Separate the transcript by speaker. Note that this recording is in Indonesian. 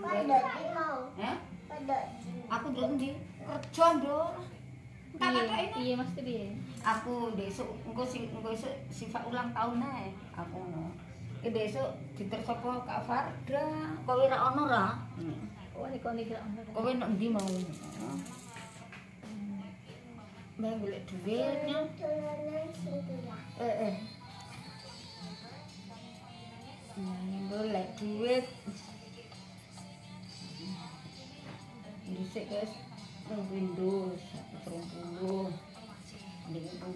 Speaker 1: Pondok di mau.
Speaker 2: Hah?
Speaker 1: Pondok di.
Speaker 2: Aku nduk ndi? Kerja, Nduk. Tak
Speaker 3: Piye?
Speaker 2: katoke ini.
Speaker 3: Piye Mas itu piye?
Speaker 2: Aku ndesuk engko sing engko esuk sifat ulang tahun ae aku ngono. Ki ndesuk ditersapa Kak Hmm. Farda. Kowe ra ono ra?
Speaker 3: Wah, iki kok iki ono.
Speaker 2: Kowe nek ndi mau?
Speaker 3: Hmm.
Speaker 2: Mbak golek duitnya.
Speaker 1: Tulanan sila.
Speaker 2: Eh eh. Nyanyi golek duit. Dhisik guys, nang Windows 30. Ndek nang